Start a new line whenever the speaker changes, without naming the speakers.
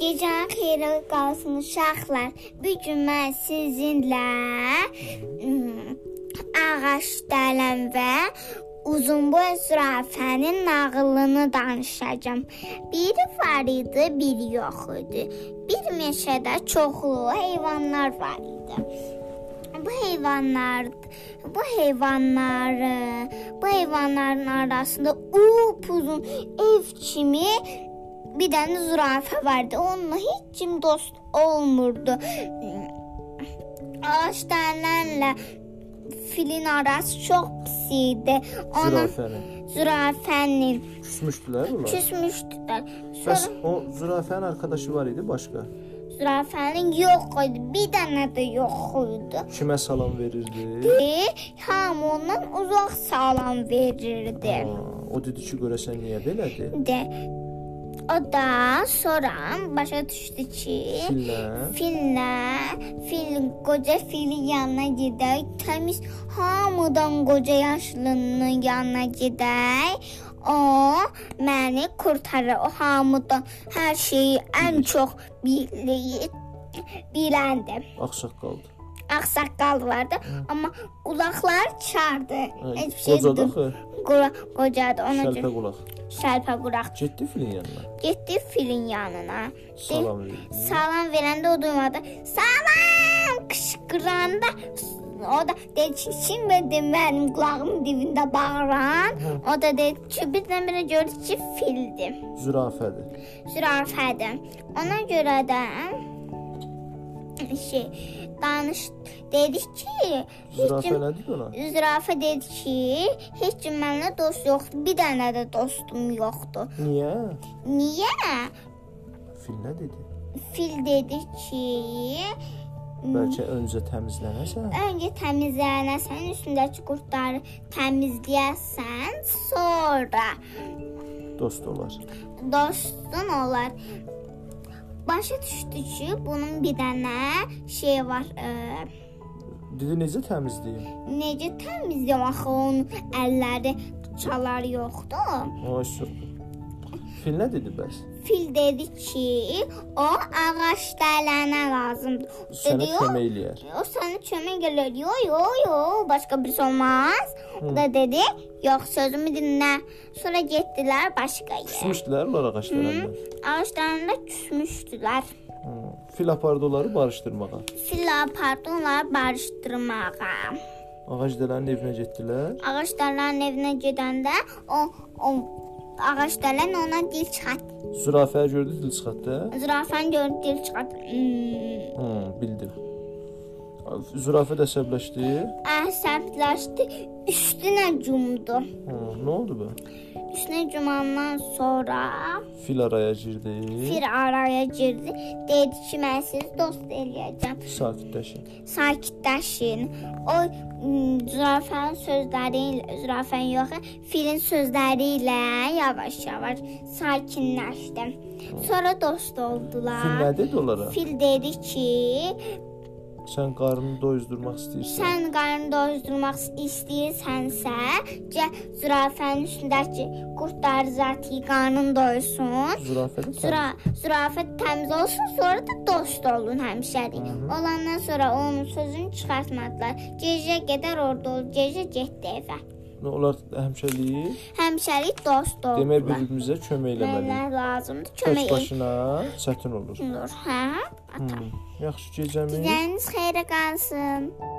Gecən xeyrə qalsın uşaqlar. Bu gün mən sizinlə mm, ağac dələn və Uzunboy zürafənin nağılını danışacağam. Biri var idi, biri yox idi. Bir meşədə çoxlu heyvanlar var idi. Bu heyvanlar bu heyvanları bu heyvanların arasında upuzun ev kimi bir tane zürafa vardı. Onunla hiç kim dost olmurdu. Ağaç dənlərlə filin arası çox pis idi. Ona
Zürafəni.
zürafənin
Küsmüşdülər onlar.
küsmüşdülər. Sonra
Bəs o zürafənin arkadaşı var idi başqa.
zürafənin yox idi. Bir dənə də yox idi.
Kimə salam verirdi?
E, hamı ondan uzaq salam verirdi.
Aa, O dedi ki, görəsən niyə belədir?
De. O da sonra başa düşdü ki,
Fillər.
Fillə, fil qoca filin yanına gedək, təmiz hamıdan qoca yaşlının yanına gedək. O məni qurtarır. O hamıdan hər şeyi ən çox bilir biləndir.
Ağsaqqaldı.
Ağsaqqal vardı, amma qulaqları çardı. Heç bir şey
Qocadı
duymadı.
axı.
Qula qocadı. Ona
Şəlpə
görə
qulaq.
şəlpə quraq
Getdi filin yanına.
getdi filin yanına.
Salam verdi.
Salam verəndə o duymadı. Salam qışqıranda o da dedi ki, kim dedi mənim qulağımın dibində bağıran? O da dedi ki, birdən-birə gördü ki, fildir,
Zürafədir.
zürafədir. Ona görə də şey danış dedi ki, heç
Zürafə
kim
nədir ona?
Zürafə dedi ki, heç kim mənimlə dost yoxdur, bir dənə də dostum yoxdur.
Niyə?
Niyə?
Fil nə dedi?
Fil dedi ki, Hmm.
Bəlkə öncə təmizlənəsən.
Öncə təmizləyəsən, üstündəki qurtları təmizləyəsən, sonra
Dost olar.
dostun olar. Başa düşdü ki, bunun bir dənə şey var. Ə,
Dedi necə təmizləyim?
necə təmizləyəm axı onun əlləri çalar yoxdur?
Ay su. Fil nə dedi bəs?
Fil dedi ki, o ağac dələnə lazımdır.
Sənə
Dedi, "Yox,
kömək eləyər.
O sana çöme geliyor. Yo yo yo başka birisi olmaz. O da dedi yok sözümü dinle. Sonra gittiler başka yere.
Küsmüşdülər onlar ağaclara.
Hı. Ağaçlarında küsmüştüler.
Hı. Fil apardı onları barışdırmağa.
Fil apardı onları barıştırmağa.
Ağac dələnin evinə getdilər.
Ağaçların evine gedende o, o ağaçların ona dil çıkart.
Zürafəni gördü dil çıxartdı.
Zürafen gördü dil çıkart. Hmm.
Hı, bildim. Zürafə də əsəbləşdi.
Əsəbləşdi. eh, Üstüne cumdu.
Hı, nə oldu bu?
Üstüne cumandan sonra
Fil araya girdi.
Fir araya girdi. Dedi ki, mən sizi dost eləyəcəm.
Sakitləşin.
Sakitləşin. O m, zürafənin sözləri ilə, zürafənin yox, filin sözləri ilə yavaş-yavaş sakinləşdi. Sonra dost
Fil nə
oldular.
dedi onlara?
Fil dedi ki,
Sən qarnını doyuzdurmaq istəyirsən.
sən qarnını doyurmaq istəyirsənsə, gəl zürafənin üstündəki qurtlar zəti qarnını doyursun.
Zürafə də
Züra zürafə təmiz olsun, sonra da dost olun həmişəlik. Olandan sonra onun sözünü çıxartmadılar. Gecə qədər orada ol, gecə getdi evə.
tam- Nə olar həmşəliyi?
Həmişəlik dost
Demək
oldular.
bir-birimizə kömək
Mənə
eləməliyik.
lazımdır
Tək
kömək
başına çətin olur.
olur, hə?
Hı. Yaxşı gecəmiz.
Gecəniz xeyrə qalsın.